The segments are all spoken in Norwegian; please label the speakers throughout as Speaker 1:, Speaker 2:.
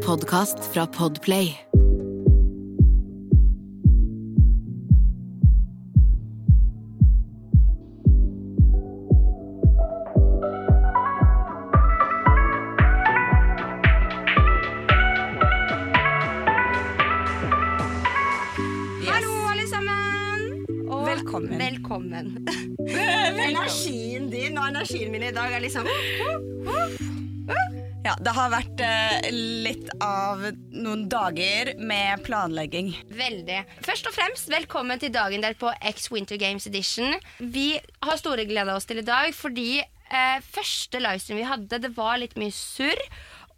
Speaker 1: podkast fra Podplay.
Speaker 2: Hallo, alle sammen! Og
Speaker 3: Velkommen.
Speaker 2: velkommen. Energien din og energien min i dag er liksom
Speaker 3: Ja, det har vært eh, litt av noen dager med planlegging.
Speaker 2: veldig. Først og fremst, velkommen til dagen der på X Winter Games Edition. Vi har store gleder oss til i dag, fordi eh, første livestream vi hadde, det var litt mye surr.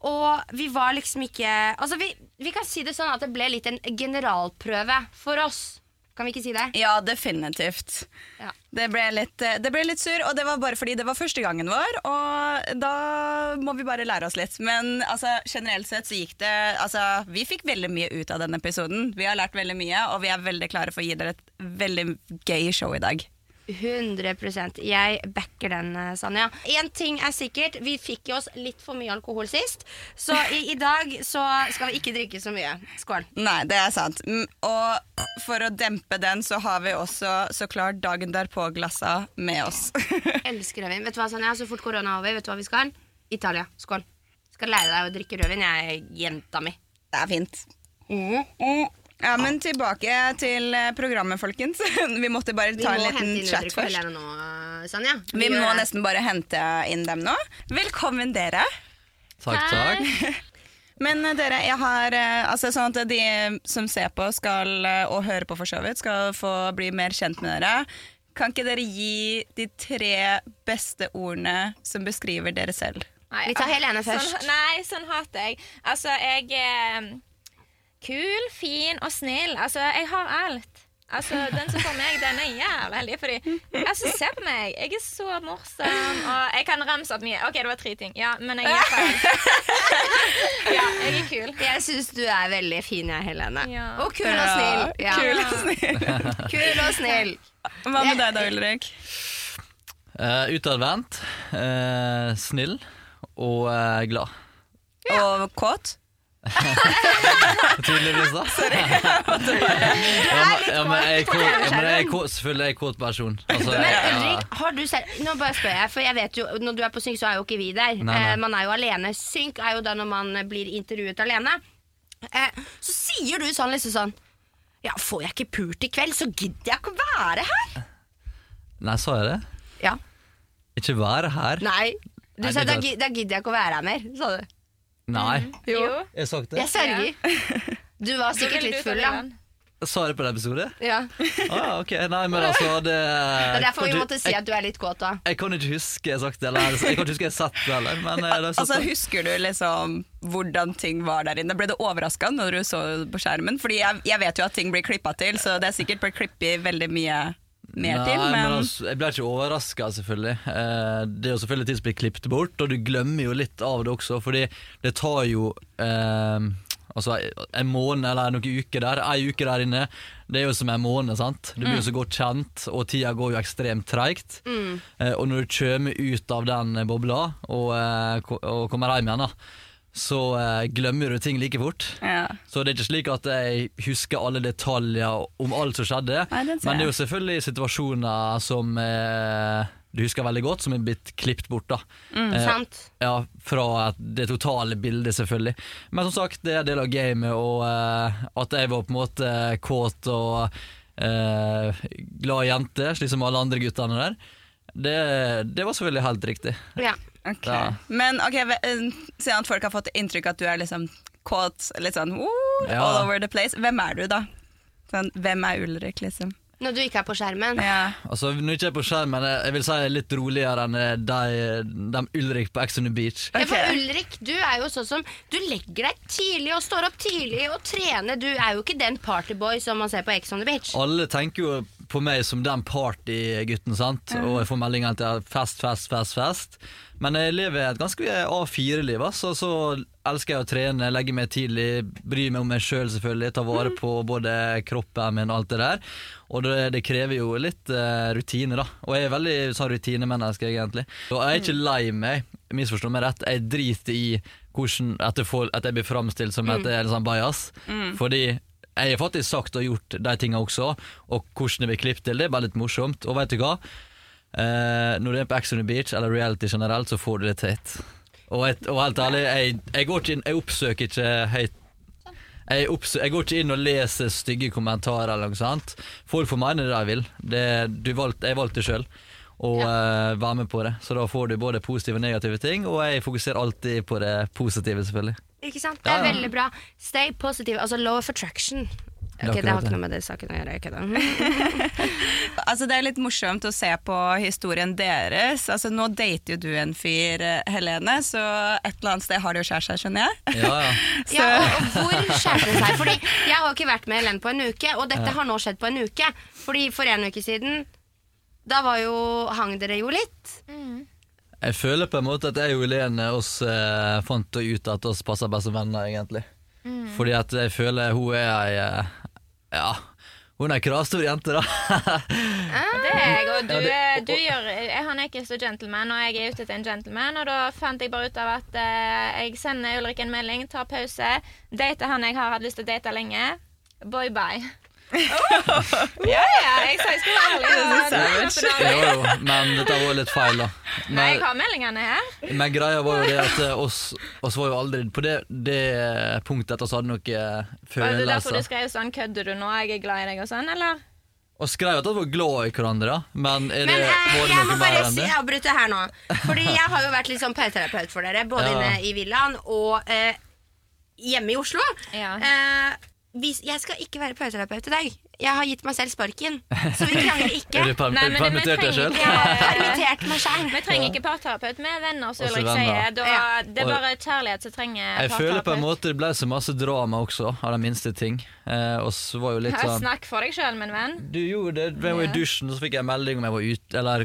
Speaker 2: Og vi var liksom ikke Altså, vi, vi kan si det sånn at det ble litt en generalprøve for oss. Kan vi ikke si det?
Speaker 3: Ja, definitivt.
Speaker 2: Ja.
Speaker 3: Det ble litt, eh, det ble litt sur, og det var bare fordi det var første gangen vår, og da må vi bare lære oss litt. Men altså, generelt sett så gikk det Altså, vi fikk veldig mye ut av denne episoden. Vi har lært veldig mye, og vi er veldig klare for å gi dere et veldig gøy show i dag.
Speaker 2: 100 Jeg backer den, eh, Sanja. Én ting er sikkert, vi fikk i oss litt for mye alkohol sist, så i, i dag så skal vi ikke drikke så mye. Skål.
Speaker 3: Nei, det er sant. Mm, Og for å dempe den, så har vi også så klart dagen derpå-glassa med oss.
Speaker 2: Elsker rødvin. Vet du hva, Sanja, så fort korona er over, vet du hva vi skal? Italia. Skål. Skal lære deg å drikke rødvin, jeg, jenta mi.
Speaker 3: Det er fint.
Speaker 2: Mm.
Speaker 3: Mm. Ja, men tilbake til eh, programmet, folkens. Vi måtte bare
Speaker 2: Vi
Speaker 3: ta en
Speaker 2: må hente
Speaker 3: liten
Speaker 2: inn
Speaker 3: chat først.
Speaker 2: uttrykksfølgerne nå, eh, Sanja.
Speaker 3: Vi må
Speaker 2: gjør det.
Speaker 3: nesten bare hente inn dem nå. Velkommen, dere.
Speaker 4: Takk, takk.
Speaker 3: Men eh, dere, jeg har eh, altså sånn at de som ser på skal, eh, og hører på for så vidt, skal få bli mer kjent med dere. Kan ikke dere gi de tre beste ordene som beskriver dere selv?
Speaker 2: Vi tar Helene først.
Speaker 5: Sånn, nei, sånn hater jeg. Altså, jeg er kul, fin og snill. Altså, jeg har alt. Altså, Den som får meg, den er jævla heldig. Fordi, altså, Se på meg! Jeg er så morsom. Og jeg kan ramse opp mye. OK, det var tre ting. Ja, men jeg er feil. Ja, jeg er kul.
Speaker 2: Jeg syns du er veldig fin, jeg, Helene.
Speaker 5: Ja.
Speaker 2: Og kul og snill. Ja.
Speaker 3: Kul og snill.
Speaker 2: kul og snill.
Speaker 3: Hva med deg da, Ulrik?
Speaker 4: Eh, utadvendt, eh, snill og eh, glad.
Speaker 3: Og kåt?
Speaker 4: Tydeligvis, da. Sorry. ja, men jeg er kåt, ja, men jeg er kåt, selvfølgelig er jeg kåt person. Altså, jeg-
Speaker 2: Men
Speaker 4: ja.
Speaker 2: Ulrik, har du selv Nå bare spør jeg, for jeg vet jo Når du er på Synk, så er jo ikke vi der.
Speaker 4: Nei, nei.
Speaker 2: Eh, man er jo alene. Synk er jo da når man eh, blir intervjuet alene. Eh, så sier du sånn liksom sånn Ja, får jeg ikke pult i kveld, så gidder jeg ikke å være her.
Speaker 4: Nei, sa jeg det?
Speaker 2: Ja.
Speaker 4: Ikke være her?
Speaker 2: Nei. Du
Speaker 4: Nei,
Speaker 2: sa
Speaker 4: det
Speaker 2: da,
Speaker 4: er-
Speaker 2: gi- da gidder jeg ikke å være her mer, sa du.
Speaker 4: Nei.
Speaker 2: Mm.
Speaker 5: Jo.
Speaker 4: Jeg har sagt
Speaker 2: Jeg
Speaker 4: det.
Speaker 2: sverger. Du var sikkert litt full, da.
Speaker 4: Sa jeg det på den episoden?
Speaker 2: Ja. Det
Speaker 4: Å ja, ok. Nei, men altså Det
Speaker 2: er
Speaker 4: Eh,
Speaker 2: derfor vi måtte si at du er litt kåt, da.
Speaker 4: Jeg, jeg kan ikke huske jeg har sagt det, eller jeg kan ikke huske jeg har sett det heller. Men eh, det har jeg
Speaker 3: Altså,
Speaker 4: sagt det.
Speaker 3: husker du liksom hvordan ting var der inne? Ble du overraska når du så på skjermen? Fordi jeg, jeg vet jo at ting blir klippa til, så det er sikkert blitt klippet veldig mye mer
Speaker 4: Nei,
Speaker 3: til.
Speaker 4: men
Speaker 3: Men
Speaker 4: altså, Jeg ble ikke overraska, selvfølgelig. Eh, det er jo selvfølgelig ting som blir klippet bort, og du glemmer jo litt av det også, fordi det tar jo eh, altså, en måned eller noen uker der. Ei uke der inne, det er jo som en måned, sant. Du
Speaker 3: Mm.
Speaker 4: blir jo så godt kjent, og tida går jo ekstremt treigt. Eh, og når du kommer ut av den bobla og, eh, ko- og kommer hjem igjen, da, så eh, glemmer du ting like fort.
Speaker 3: ja.
Speaker 4: Så det er ikke slik at jeg husker alle detaljer om alt som skjedde.
Speaker 3: Nei, den ser
Speaker 4: men det
Speaker 3: jeg.
Speaker 4: er jo selvfølgelig situasjoner som eh, du husker veldig godt, som er blitt klippet bort. da.
Speaker 3: Mm,
Speaker 4: Eh,
Speaker 2: Sant?
Speaker 4: ja, Fra det totale bildet, selvfølgelig. Men som sagt, det er en del av gamet, og eh, at jeg var på en måte kåt og eh, glad jente, slik som alle andre guttene der, det, det var selvfølgelig helt riktig.
Speaker 2: Ja.
Speaker 3: Ok.
Speaker 4: Ja.
Speaker 3: Men ok, ve- eh, siden at folk har fått inntrykk at du er liksom kåt, litt sånn woo,
Speaker 4: Ja.
Speaker 3: all over the place, hvem er du da? Sånn, hvem er Ulrik, liksom?
Speaker 2: Når du ikke er på skjermen.
Speaker 3: Ja.
Speaker 4: Altså, Når jeg ikke er på skjermen, jeg jeg vil si jeg er litt roligere enn eh, de, de Ulrik på Ex on the Beach.
Speaker 2: Ja, for
Speaker 3: Ok.
Speaker 2: Ulrik, du er jo sånn som Du legger deg tidlig og står opp tidlig og trener. Du er jo ikke den partyboy som man ser på Ex on the Beach.
Speaker 4: Alle tenker jo på meg som den partygutten, sant? og jeg får melding at jeg har fest, fest, fest, fest. Men jeg lever et ganske A4-liv, altså. Så elsker jeg å trene, legge meg tidlig, bry meg om meg sjøl selv, selvfølgelig, ta vare på både kroppen min og alt det der. Og det, det krever jo litt eh, rutine, da. Og jeg er veldig sånn rutinemenneske, egentlig. Og jeg er ikke lei meg, misforstå meg rett, jeg driter i hvordan at jeg, får, at jeg blir framstilt som at jeg er en sånn bajas. Fordi jeg har faktisk sagt og gjort de tinga også, og hvordan jeg blir klippet til, det er bare litt morsomt. Og vet du hva? Eh, når du er på Ex on the Beach eller reality generelt, så får du det tett. Og, et, og helt ærlig, jeg, jeg går ikke inn Jeg oppsøker ikke høyt jeg, oppsø jeg går ikke inn og leser stygge kommentarer. eller noe sånt Folk får mene det de vil. Det, du valgte- jeg valgte det sjøl å eh, være med på det. Så da får du både positive og negative ting, og jeg fokuserer alltid på det positive, selvfølgelig.
Speaker 2: Ikke sant? Det er
Speaker 4: Ja, ja.
Speaker 2: veldig bra. Stay positive. Altså law of attraction.
Speaker 4: er
Speaker 2: Ok, Det har
Speaker 4: akkurat det.
Speaker 2: ikke noe med det saken å gjøre. jeg kødder.
Speaker 3: Altså, det er litt morsomt å se på historien deres. Altså, nå dater jo du en fyr, eh, Helene, så et eller annet sted har det jo skjært seg, skjønner jeg.
Speaker 4: Ja, ja.
Speaker 2: Ja, og, og hvor skjer det seg? Fordi Jeg har ikke vært med Helen på en uke, og dette har nå skjedd på en uke. Fordi For en uke siden da var jo, hang dere jo litt.
Speaker 4: Jeg føler på en måte at jeg og Helene oss eh, fant ut at oss passer best som venner, egentlig.
Speaker 5: Mm.
Speaker 4: Fordi at jeg føler hun er ei eh, Ja, hun er ei kravstor jente, da.
Speaker 5: Det er jeg, og du,
Speaker 4: Ja, det-
Speaker 5: er- du gjør jeg, Han er ikke så gentleman, og jeg er ute etter en gentleman. Og da fant jeg bare ut av at eh, jeg sender Ulrik en melding, tar pause, dater han jeg har hatt lyst til å date lenge. Boy bye. ja, ja, jeg sa jeg skulle være ærlig. og det er på
Speaker 4: jo,
Speaker 5: dagen.
Speaker 4: jo, men dette var litt feil, da.
Speaker 5: Nei,
Speaker 4: Men,
Speaker 5: jeg har meldingene her.
Speaker 4: men greia var jo det at eh, oss, oss var jo aldri på det, det punktet at oss hadde eh, noen
Speaker 5: Og det er derfor du
Speaker 4: følelser.
Speaker 5: skrev sånn 'kødder du nå, jeg er glad i deg' og sånn, eller?
Speaker 4: Og skrev at vi var glad i hverandre, da. Men er det,
Speaker 2: Men eh,
Speaker 4: var det
Speaker 2: jeg må
Speaker 4: noe
Speaker 2: bare
Speaker 4: mer enn
Speaker 2: si,
Speaker 4: det?
Speaker 2: avbryte her nå. Fordi jeg har jo vært litt sånn parterapeut for dere, både
Speaker 4: Ja.
Speaker 2: inne i villaen og eh, hjemme i Oslo.
Speaker 5: Ja.
Speaker 2: Eh, hvis, jeg skal ikke være parterapeut i dag. Jeg har gitt meg selv sparken, så vi krangler ikke.
Speaker 4: Er du perm-
Speaker 5: Nei, men- men
Speaker 4: permittert deg
Speaker 5: trenger
Speaker 4: sjøl?
Speaker 2: Jeg har permittert meg selv
Speaker 5: Vi trenger ikke parterapeut, vi er venner, som
Speaker 4: Også
Speaker 5: Ulrik
Speaker 4: venner.
Speaker 5: sier. Da,
Speaker 2: Ja.
Speaker 5: Det er
Speaker 4: Og-
Speaker 5: bare kjærlighet som trenger
Speaker 4: Jeg føler på en
Speaker 5: parterapeut.
Speaker 4: måte det ble så masse drama også, av de minste ting. Eh, og så var jo litt
Speaker 5: Ja,
Speaker 4: sånn
Speaker 5: Snakk for deg sjøl, min venn.
Speaker 4: Du gjorde det, jeg var i dusjen, så fikk jeg en melding om jeg var ute, eller er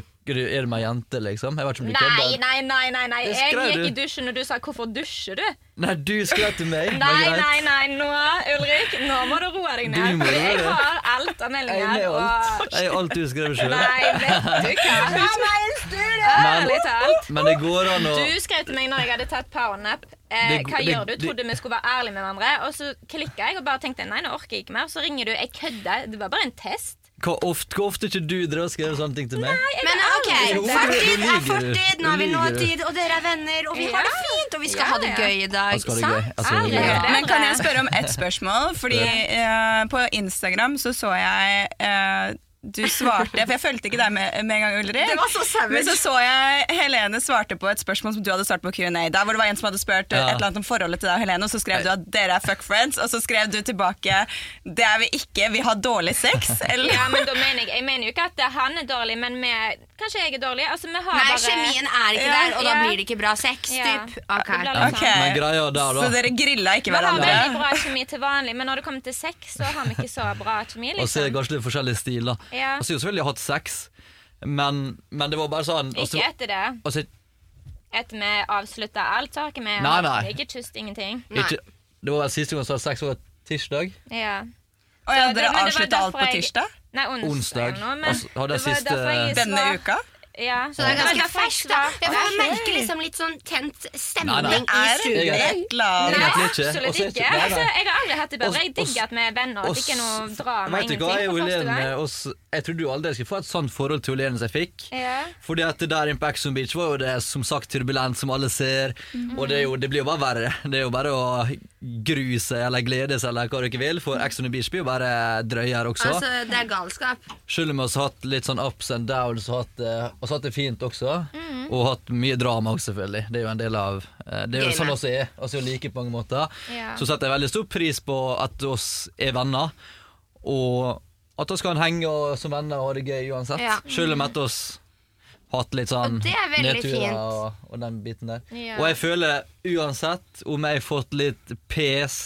Speaker 4: du med ei jente, liksom? Jeg vet ikke om du
Speaker 5: Nei,
Speaker 4: kødder.
Speaker 5: nei, nei, nei, nei.
Speaker 4: Det
Speaker 5: Jeg
Speaker 4: skrev
Speaker 5: gikk
Speaker 4: du.
Speaker 5: i dusjen, og du sa 'hvorfor dusjer du'?
Speaker 4: Nei, du skrev til meg. men
Speaker 5: Nei,
Speaker 4: greit.
Speaker 5: nei, nei, nå, Ulrik, nå må du roe deg
Speaker 4: Du
Speaker 5: ned.
Speaker 4: må
Speaker 5: for
Speaker 4: gjøre
Speaker 5: Jeg
Speaker 4: det.
Speaker 5: har alt av
Speaker 4: Jeg er
Speaker 5: meldinger.
Speaker 4: med alt.
Speaker 5: Og...
Speaker 4: Jeg er alt du skrev sjøl.
Speaker 5: Nei, vet du hva?
Speaker 4: Men-
Speaker 5: Ærlig talt.
Speaker 4: Men det går an å
Speaker 5: Du skrev til meg når jeg hadde tatt powernap. Eh,
Speaker 4: Det-
Speaker 5: hva
Speaker 4: det-
Speaker 5: gjør du?
Speaker 4: det-
Speaker 5: Trodde vi skulle være ærlige med hverandre. Og så klikka jeg og bare tenkte nei, nå orker jeg ikke mer. Så ringer du. Jeg kødder. Det var bare en test.
Speaker 4: Hvor ofte, hvor ofte ikke du drev og skrev sånne ting til meg?
Speaker 2: Men ok,
Speaker 4: Jo, det-
Speaker 2: fortid
Speaker 4: det
Speaker 2: er
Speaker 4: liker du.
Speaker 2: fortid. Nå
Speaker 4: Det
Speaker 2: er vi
Speaker 4: liker du.
Speaker 2: nåtid, og dere er venner, og vi har det
Speaker 5: Ja.
Speaker 2: fint, og vi skal
Speaker 5: Ja,
Speaker 2: ha det
Speaker 5: ja.
Speaker 2: gøy i dag.
Speaker 4: Jeg skal ha Altså, det gøy.
Speaker 2: sant?
Speaker 4: Jeg skal ha det gøy.
Speaker 5: Ja.
Speaker 3: Men kan jeg spørre om ett spørsmål? Fordi eh, på Instagram så så jeg eh, du svarte, for jeg fulgte ikke deg med, med en gang, Ulrik.
Speaker 2: Det var så savage.
Speaker 3: Men så så jeg Helene svarte på et spørsmål som du hadde svart på Q&A. Der hvor det var en som hadde spurt eh,
Speaker 4: Ja.
Speaker 3: et eller annet om forholdet til deg og Helene, og så skrev du at dere er fuck friends, og så skrev du tilbake det er vi ikke, vi har dårlig sex. Eller?
Speaker 5: Ja, men da mener jeg, jeg mener jo ikke at han er dårlig, men vi Kanskje jeg er dårlig? Altså, vi har
Speaker 2: Nei,
Speaker 5: bare
Speaker 2: kjemien er ikke
Speaker 3: Ja,
Speaker 2: der, og da
Speaker 5: ja.
Speaker 2: blir det ikke bra sex.
Speaker 5: Ja.
Speaker 2: Typ.
Speaker 5: Det
Speaker 2: Ok.
Speaker 5: blir litt
Speaker 4: Men-
Speaker 5: sånn.
Speaker 3: Ok.
Speaker 4: Men greia der,
Speaker 3: Så
Speaker 4: da
Speaker 3: dere grilla ikke
Speaker 5: Vi har
Speaker 3: hverandre?
Speaker 5: veldig bra kjemi til vanlig, men når det kommer til sex, så har vi ikke så bra kjemi.
Speaker 4: Og så er det
Speaker 5: Liksom.
Speaker 4: kanskje litt forskjellige stiler.
Speaker 5: Ja.
Speaker 4: Og så har jeg selvfølgelig hatt sex, men, men det var bare sånn altså, og så-
Speaker 5: Ikke etter det.
Speaker 4: og så-
Speaker 5: Etter vi avslutta alt, så har ikke vi
Speaker 4: Nei, nei.
Speaker 5: ikke kysset ingenting.
Speaker 2: Nei.
Speaker 4: ikke, Det var vel siste gang jeg hadde sex, det var tirsdag.
Speaker 5: Ja.
Speaker 3: Og ja, dere
Speaker 5: Så det- men det var
Speaker 3: avslutta alt på
Speaker 5: derfor jeg-
Speaker 3: tirsdag?
Speaker 5: Nei, onsdag.
Speaker 4: Onsdag.
Speaker 5: nå, men
Speaker 4: Altså, har det
Speaker 5: var
Speaker 4: siste-
Speaker 5: derfor jeg
Speaker 3: Denne
Speaker 5: svar-
Speaker 3: uka?
Speaker 5: Ja.
Speaker 2: Så det er ganske ferskt, da. Jeg får
Speaker 5: Nei,
Speaker 2: merke liksom litt sånn tent
Speaker 4: Nei,
Speaker 2: stemning
Speaker 4: nei.
Speaker 2: i
Speaker 3: Er
Speaker 2: studio.
Speaker 4: Egentlig.
Speaker 3: et eller annet
Speaker 4: Egentlig ikke.
Speaker 5: absolutt
Speaker 4: Og så- Nei,
Speaker 5: ikke.
Speaker 4: nei.
Speaker 5: Altså, jeg har aldri hatt det bedre. Jeg
Speaker 4: Og- og-
Speaker 5: digger at vi er venner, at det ikke er noe drama.
Speaker 4: Vet du hva, jeg,
Speaker 5: ingenting
Speaker 4: og
Speaker 5: for første
Speaker 4: Helene,
Speaker 5: gang.
Speaker 4: oss, jeg trodde jo aldri jeg skulle få et sånt forhold til Helene som jeg fikk.
Speaker 5: Ja.
Speaker 4: Fordi at det der inne på Exxon Beach var jo det som sagt turbulent, som alle ser.
Speaker 5: Mhm.
Speaker 4: Og det, er jo, det blir jo bare verre. Det er jo bare å grue seg eller glede seg eller hva dere vil, for Exxon Beach blir jo bare drøyere også.
Speaker 2: Altså, det er galskap.
Speaker 4: Selv om vi har hatt litt sånn ups and downs og hatt, eh, og så hatt det fint også.
Speaker 2: Mm.
Speaker 4: Og hatt mye drama også, selvfølgelig. Det er jo en del av eh, Det er jo
Speaker 2: Gamet.
Speaker 4: sånn vi er. Altså er like på mange måter.
Speaker 5: Ja.
Speaker 4: Så setter jeg veldig stor pris på at oss er venner, og at oss kan henge og, som venner og ha det gøy uansett.
Speaker 2: Ja.
Speaker 4: Selv om at oss har hatt litt sånn
Speaker 2: Og det er veldig fint.
Speaker 4: og, og den biten der.
Speaker 5: Ja.
Speaker 4: Og jeg føler uansett om jeg har fått litt pes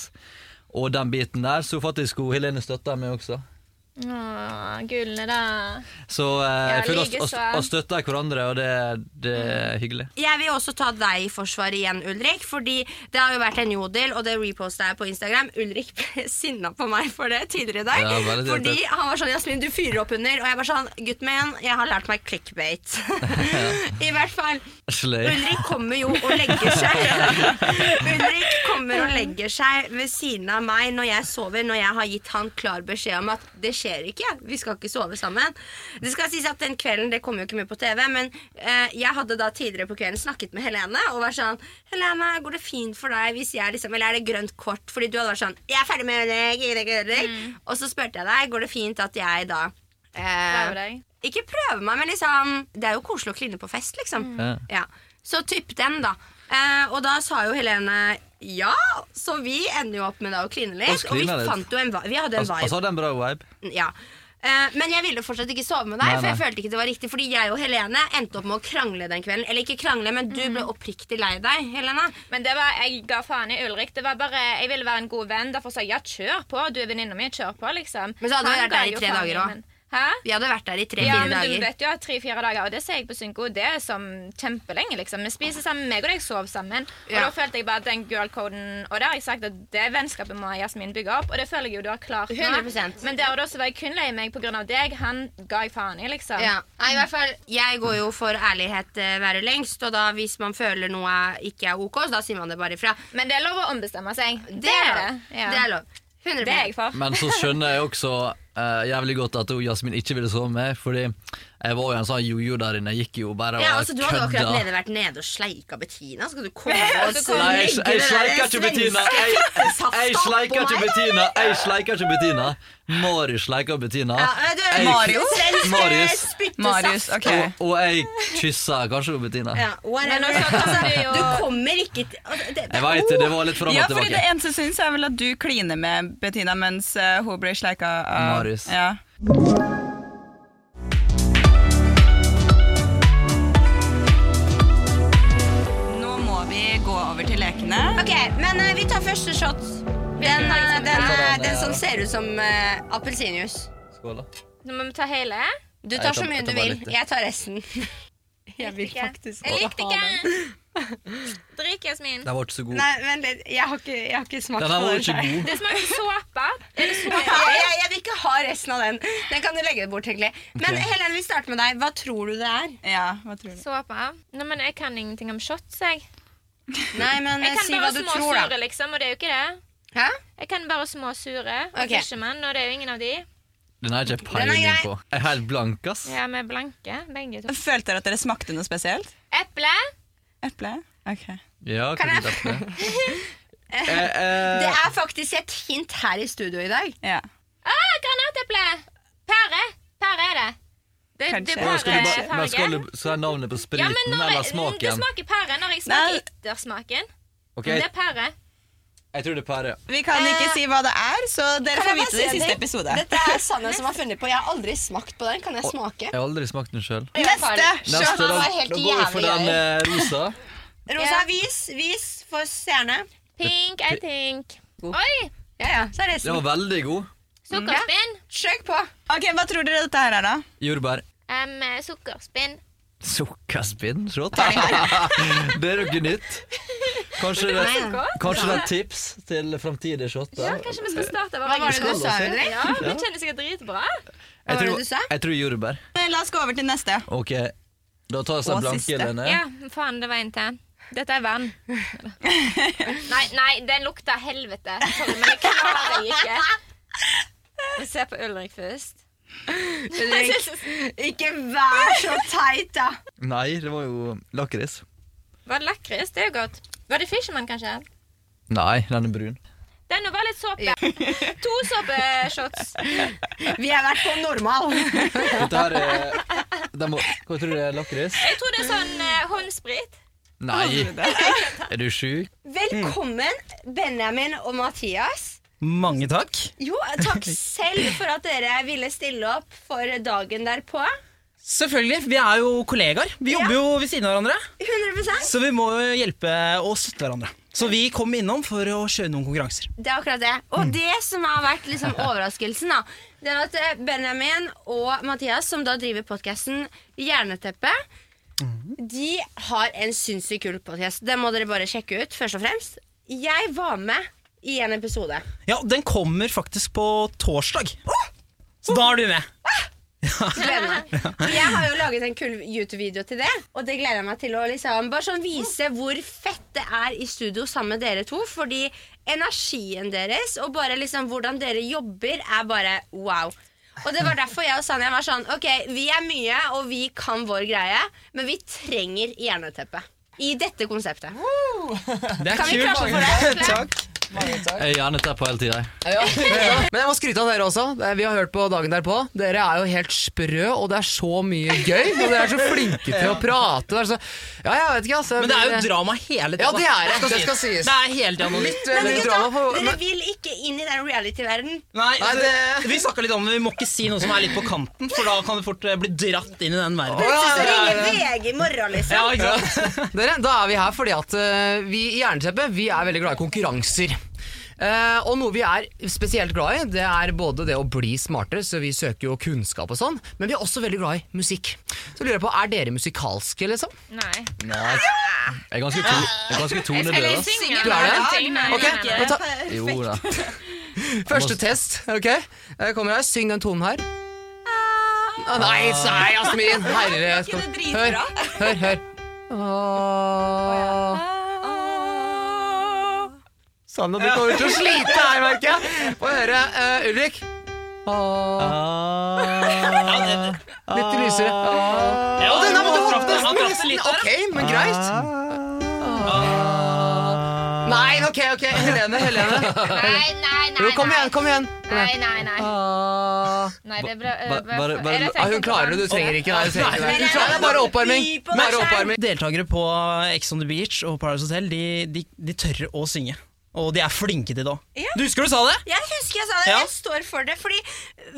Speaker 4: og den biten der, så faktisk hun Helene støtter meg også.
Speaker 5: Åh, gullene, da.
Speaker 4: Så eh, jeg
Speaker 5: Ja,
Speaker 4: føler
Speaker 5: like
Speaker 4: oss, oss,
Speaker 5: så.
Speaker 4: oss støtter hverandre, og det, det
Speaker 2: Mm.
Speaker 4: er hyggelig.
Speaker 2: Jeg vil også ta deg i forsvar igjen, Ulrik. Fordi det har jo vært en jodel, og det reposta jeg på Instagram. Ulrik ble sinna på meg for det tidligere i dag.
Speaker 4: Ja, bare det-
Speaker 2: fordi han var sånn Jasmin, du fyrer opp under. Og jeg bare sånn Gutt min, jeg har lært meg clickbait. I hvert fall.
Speaker 4: Slay.
Speaker 2: Ulrik kommer jo og legger seg. Ulrik kommer og legger seg ved siden av meg når jeg sover, når jeg har gitt han klar beskjed om at det skjer ikke. Vi skal ikke sove sammen. Det skal sies at den kvelden, det kom jo ikke mye på TV, men eh, jeg hadde da tidligere på kvelden snakket med Helene og var sånn Helene, går det fint for deg hvis jeg liksom Eller er det grønt kort? Fordi du hadde vært sånn Jeg er ferdig med deg, Ulrik, Ulrik.
Speaker 5: Mm.
Speaker 2: Og så spurte jeg deg, går det fint at jeg da eh,
Speaker 5: Prøver deg.
Speaker 2: ikke prøve meg, men liksom Det er jo koselig å kline på fest, liksom.
Speaker 4: Mm. Ja.
Speaker 2: Ja. Så typ den, da. Eh, og da sa jo Helene ja, så vi ender jo opp med da å kline litt.
Speaker 4: Oss
Speaker 2: Og vi
Speaker 4: kliner litt.
Speaker 2: fant jo en vibe. Vi hadde en
Speaker 4: Altså,
Speaker 2: vibe.
Speaker 4: altså hadde en bra vibe.
Speaker 2: Ja. Eh, men jeg ville fortsatt ikke sove med deg,
Speaker 4: Nei,
Speaker 2: for jeg
Speaker 4: nei.
Speaker 2: følte ikke det var riktig. Fordi jeg og Helene endte opp med å krangle den kvelden. Eller ikke krangle, men
Speaker 5: Mm.
Speaker 2: du ble oppriktig lei deg, Helene.
Speaker 5: Men det var, jeg ga faen i Ulrik. Det var bare, Jeg ville være en god venn. Derfor sa jeg ja, kjør på. Du er venninna mi, kjør på, liksom.
Speaker 2: Men så hadde vi
Speaker 5: Han
Speaker 2: vært der i
Speaker 5: ga jo
Speaker 2: tre
Speaker 5: faen
Speaker 2: dager også.
Speaker 5: men- Hæ?
Speaker 2: Vi hadde vært der i
Speaker 5: Ja,
Speaker 2: tre-fire
Speaker 5: men du
Speaker 2: dager.
Speaker 5: vet jo at tre-fire dager, og det ser jeg på Synko, det er som kjempelenge, liksom. Vi spiser sammen, meg og deg sov sammen. Og
Speaker 2: Ja.
Speaker 5: da følte jeg bare at den girl-koden Og det har jeg sagt at det vennskapet må Jasmin bygge opp, og det føler jeg jo du har klart nå.
Speaker 2: 100%.
Speaker 5: Men der og da så var jeg kun lei meg pga. deg. Han ga jeg faen i, liksom.
Speaker 2: Ja. Nei, i hvert fall, jeg går jo for ærlighet eh, være lengst, og da hvis man føler noe ikke er ok, så da sier man det bare ifra.
Speaker 5: Men det er lov å ombestemme seg. Det,
Speaker 2: Det er lov.
Speaker 5: Ja.
Speaker 2: Det er lov. 100
Speaker 5: Det er jeg for.
Speaker 4: Men så skjønner jeg også eh, jævlig godt at hun Jasmin ikke ville sove med, fordi jeg var jo en sånn jojo der inne. Jeg gikk jo bare og
Speaker 2: ja, altså, du hadde jo akkurat
Speaker 4: kødda.
Speaker 2: nede vært nede og sleika Bettina. Skal du komme og
Speaker 5: Så
Speaker 2: så
Speaker 5: kom-
Speaker 4: Nei, jeg,
Speaker 2: legge
Speaker 4: jeg
Speaker 2: det der
Speaker 4: sleiker ikke Bettina. Jeg,
Speaker 2: safta
Speaker 4: jeg
Speaker 2: oppå
Speaker 4: sleiker ikke
Speaker 2: meg?
Speaker 4: Bettina. Jeg sleiker ikke Bettina. Mari sleiker Bettina.
Speaker 2: Ja, men du,
Speaker 4: Jeg-
Speaker 3: Marius?
Speaker 2: Svensk, eh,
Speaker 4: Marius.
Speaker 2: spyttesaft.
Speaker 3: Marius, ok.
Speaker 4: Og, og jeg kysser kanskje Bettina.
Speaker 2: Ja, whatever.
Speaker 5: Men nå skal-
Speaker 2: Altså,
Speaker 5: du jo-
Speaker 2: du kommer ikke til altså, det-
Speaker 4: Jeg vet det, det var litt fram
Speaker 3: Ja,
Speaker 4: og
Speaker 3: fordi det
Speaker 4: tilbake.
Speaker 3: eneste jeg syns, er vel at du kliner med Bettina mens eh, hun blir sleika av
Speaker 4: Marius.
Speaker 3: Ja. Nå må vi gå over til lekene.
Speaker 2: Ok, men eh, vi tar første shot. Den, eh, den, eh, den som ser ut som eh, appelsinjuice.
Speaker 4: Skål, da.
Speaker 5: Nå må vi ta hele.
Speaker 2: Du
Speaker 4: Jeg
Speaker 2: tar
Speaker 4: tar-
Speaker 2: så mye
Speaker 4: jeg
Speaker 2: du
Speaker 4: tar bare
Speaker 2: vil.
Speaker 4: litt, ja.
Speaker 2: Jeg tar resten. Jeg vil faktisk
Speaker 5: Jeg likte ikke. Drik, Jasmin.
Speaker 4: Den var ikke så god.
Speaker 2: Nei, vent litt. Jeg har ikke, jeg har ikke smakt
Speaker 4: Den her
Speaker 2: på
Speaker 4: var
Speaker 2: den.
Speaker 4: jo ikke
Speaker 2: her.
Speaker 4: god.
Speaker 5: Det smaker såpe. Er det såpe?
Speaker 2: Ja, jeg, jeg vil ikke ha resten av den. Den kan du legge bort, egentlig. Men
Speaker 4: Ok.
Speaker 2: Helene, vi starter med deg. Hva tror du det er?
Speaker 3: Ja, hva tror du?
Speaker 5: Såpe? Nå, men jeg kan ingenting om shots, jeg.
Speaker 2: Nei, men eh,
Speaker 5: Jeg kan
Speaker 2: si hva
Speaker 5: bare
Speaker 2: du tror,
Speaker 5: småsure,
Speaker 2: da.
Speaker 5: liksom, og det er jo ikke det.
Speaker 2: Hæ?
Speaker 5: Jeg kan bare småsure og
Speaker 2: Ok.
Speaker 5: fisherman, og det er jo ingen av de.
Speaker 4: Den har jeg ikke
Speaker 2: Den er
Speaker 4: peiling
Speaker 2: grei.
Speaker 4: på. Jeg er helt blank, ass.
Speaker 5: Ja, vi er blanke, begge to.
Speaker 3: Følte dere at dere smakte noe spesielt?
Speaker 5: Eple.
Speaker 3: Eple? Ok.
Speaker 4: Ja,
Speaker 2: Kan
Speaker 4: kanskje det. Eh, eh,
Speaker 2: Det er faktisk et hint her i studio i dag.
Speaker 3: Ja.
Speaker 5: Ah, granateple! Pære. Pære er det. Det,
Speaker 3: Kanskje.
Speaker 5: det er
Speaker 4: men skal du bare- men skal
Speaker 5: pærefarge.
Speaker 4: du skal jeg navnet på
Speaker 5: Ja,
Speaker 4: spriten
Speaker 5: men når
Speaker 4: eller
Speaker 5: jeg, det
Speaker 4: smaken?
Speaker 5: smaker pære når jeg
Speaker 3: Nei.
Speaker 5: smaker ettersmaken.
Speaker 4: Ok,
Speaker 5: Det
Speaker 4: jeg,
Speaker 5: er pære.
Speaker 4: jeg tror det er pære.
Speaker 3: Vi kan ikke si hva det er, så dere
Speaker 2: Kan
Speaker 3: får
Speaker 2: jeg bare
Speaker 3: vite det i
Speaker 2: si en
Speaker 3: siste
Speaker 2: ting?
Speaker 3: episode.
Speaker 2: Dette er Sanne som har funnet på. Jeg har aldri smakt på den. Kan jeg smake?
Speaker 4: Jeg har aldri smakt den sjøl.
Speaker 3: Neste!
Speaker 4: Neste,
Speaker 2: den
Speaker 4: da,
Speaker 2: var helt
Speaker 4: da går vi for
Speaker 2: jævlig
Speaker 4: den eh, rosa.
Speaker 2: Rosa, vis. Vis for seerne.
Speaker 5: Pink, I think. Oi!
Speaker 2: Ja, ja. Så er
Speaker 4: Den
Speaker 2: resten.
Speaker 4: var veldig god.
Speaker 5: Sukkerspinn.
Speaker 2: Søk på.
Speaker 3: Ok, Hva tror dere dette her er, da?
Speaker 4: Jordbær.
Speaker 5: Um, sukkerspinn.
Speaker 4: Sukkerspinn? Shot. Det er noe nytt. Kanskje det,
Speaker 2: Nei, ja.
Speaker 4: kanskje det er et tips til framtidige
Speaker 5: Ja,
Speaker 4: shotter.
Speaker 5: kanskje vi skal starte
Speaker 2: Hva
Speaker 5: vår
Speaker 2: var det
Speaker 5: egen
Speaker 2: du sa, Ulrik?
Speaker 5: Ja, det kjennes sikkert dritbra.
Speaker 4: Jeg
Speaker 2: var det
Speaker 4: tror,
Speaker 2: du sa?
Speaker 4: jeg tror jordbær.
Speaker 3: Eh, La oss gå over til neste.
Speaker 4: Ok, da tar jeg
Speaker 3: Og
Speaker 4: sånn
Speaker 3: siste.
Speaker 4: blanke denne.
Speaker 5: Ja, faen, det var en til. Dette er vann. nei, nei, den lukter helvete. Sorry, men jeg klarer det ikke. Vi ser på Ulrik først.
Speaker 2: Ulrik, ikke vær så teit, da.
Speaker 4: Nei, det var jo lakris.
Speaker 5: Var det lakris? Det er jo godt. Var det Fisherman, kanskje?
Speaker 4: Nei, den er brun.
Speaker 5: Den var litt såpe. To såpeshots.
Speaker 2: Vi har vært på normal.
Speaker 4: Dette her er den må, Hva tror du det er lakris?
Speaker 5: Jeg tror det er sånn eh, håndsprit.
Speaker 4: Nei, er du sjuk?
Speaker 2: Velkommen, Benjamin og Mathias.
Speaker 6: Mange takk.
Speaker 2: Jo, takk selv for at dere ville stille opp for dagen derpå.
Speaker 6: Selvfølgelig. Vi er jo kollegaer. Vi
Speaker 2: Ja.
Speaker 6: jobber jo ved siden av hverandre.
Speaker 2: 100
Speaker 6: Så vi må jo hjelpe og støtte hverandre. Så vi kom innom for å kjøre noen konkurranser.
Speaker 2: Det er akkurat det. Og det som har vært liksom overraskelsen, da, Det er at eh, Benjamin og Mathias, som da driver podkasten Hjerneteppe, de har en sinnssykt kul podkast. Det må dere bare sjekke ut, først og fremst. Jeg var med i en episode.
Speaker 6: Ja, den kommer faktisk på torsdag. Så da er du med.
Speaker 2: Spennende. For Jeg har jo laget en kul YouTube-video til det, og det gleder jeg meg til å liksom bare sånn vise hvor fett det er i studio sammen med dere to. Fordi energien deres og bare liksom hvordan dere jobber, er bare wow. Og det var derfor jeg og Sanja var sånn Ok, vi er mye, og vi kan vår greie, men vi trenger jerneteppe. I dette konseptet.
Speaker 6: Det er
Speaker 2: Kan vi klappe
Speaker 6: kult.
Speaker 2: for det?
Speaker 7: Takk. Mange takk.
Speaker 4: Jeg er gjerne der på hele tida.
Speaker 7: Ja, ja. Men jeg må skryte av dere også. Det- Vi har hørt på dagen derpå. Dere er jo helt sprø, og det er så mye gøy. Og dere er så flinke til å prate. Det er så, ja, jeg vet ikke, altså.
Speaker 6: Men det er jo drama hele tiden.
Speaker 7: Ja, det er det.
Speaker 6: da.
Speaker 7: Det skal sies.
Speaker 6: Det er hele tiden noe nytt.
Speaker 7: Det er
Speaker 2: Men
Speaker 7: litt
Speaker 2: gutta,
Speaker 7: drama på-
Speaker 2: dere vil ikke inn i den reality-verdenen.
Speaker 6: Nei,
Speaker 7: Nei, det-
Speaker 6: det... Vi snakka litt om det, vi må ikke si noe som er litt på kanten, for da kan du fort eh, bli dratt inn i den verden.
Speaker 7: Å, ja,
Speaker 2: Så
Speaker 7: det er-
Speaker 2: ringer VG i morgen, liksom.
Speaker 6: Ja, ikke sant?
Speaker 7: Dere, da er vi her fordi at eh, vi i Jerneteppet vi er veldig glad i konkurranser. Eh, og noe vi er spesielt glad i, det er både det å bli smartere, så vi søker jo kunnskap og sånn, men vi er også veldig glad i musikk. Så lurer jeg på, er dere musikalske, liksom?
Speaker 5: Nei.
Speaker 4: Jeg er ganske, to, jeg er ganske
Speaker 5: Jeg skal
Speaker 4: tonedøv.
Speaker 5: ikke
Speaker 4: ass.
Speaker 5: synge.
Speaker 7: Du er det?
Speaker 5: noen ting, nei,
Speaker 7: Ok,
Speaker 5: nei, nei.
Speaker 7: da ta
Speaker 4: Jo da.
Speaker 7: første test, ok? Jeg kommer her, syng den tonen her. Å nei, nei, Jasmin! Herre
Speaker 3: Ikke det dritbra?
Speaker 7: Hør, hør, hør. Åh. Sanne, du kommer til å slite her, merker jeg. Få høre eh, Ulrik. Åh. Ah. Litt lysere. Åh.
Speaker 6: Ja,
Speaker 7: den er- men du holdt
Speaker 6: traff det- han traff det litt der,
Speaker 7: Ok, men greit. Åh. Nei, ok, ok. Helene, Helene.
Speaker 5: Nei, nei, nei.
Speaker 7: Jo, kom igjen, kom igjen.
Speaker 5: Nei, nei, nei.
Speaker 7: Åh.
Speaker 5: Nei, det er bra.
Speaker 4: Ba-
Speaker 5: bra-
Speaker 4: bare- bare-
Speaker 5: Eller
Speaker 4: Ja,
Speaker 5: tenk
Speaker 7: Ja, hun
Speaker 5: på
Speaker 7: klarer det,
Speaker 5: den.
Speaker 7: du trenger ikke det. Du trenger ikke det.
Speaker 6: Nei,
Speaker 7: Du klarer det, bare oppvarming.
Speaker 3: By på deg
Speaker 7: Bare
Speaker 3: selv.
Speaker 7: oppvarming.
Speaker 6: Deltakere på Ex on the Beach og Paradise Hotel de, de, de tør å synge. Og de er flinke til det òg.
Speaker 2: Ja.
Speaker 6: Du husker du sa det?
Speaker 2: Jeg husker jeg sa det,
Speaker 6: Ja.
Speaker 2: jeg står for det. Fordi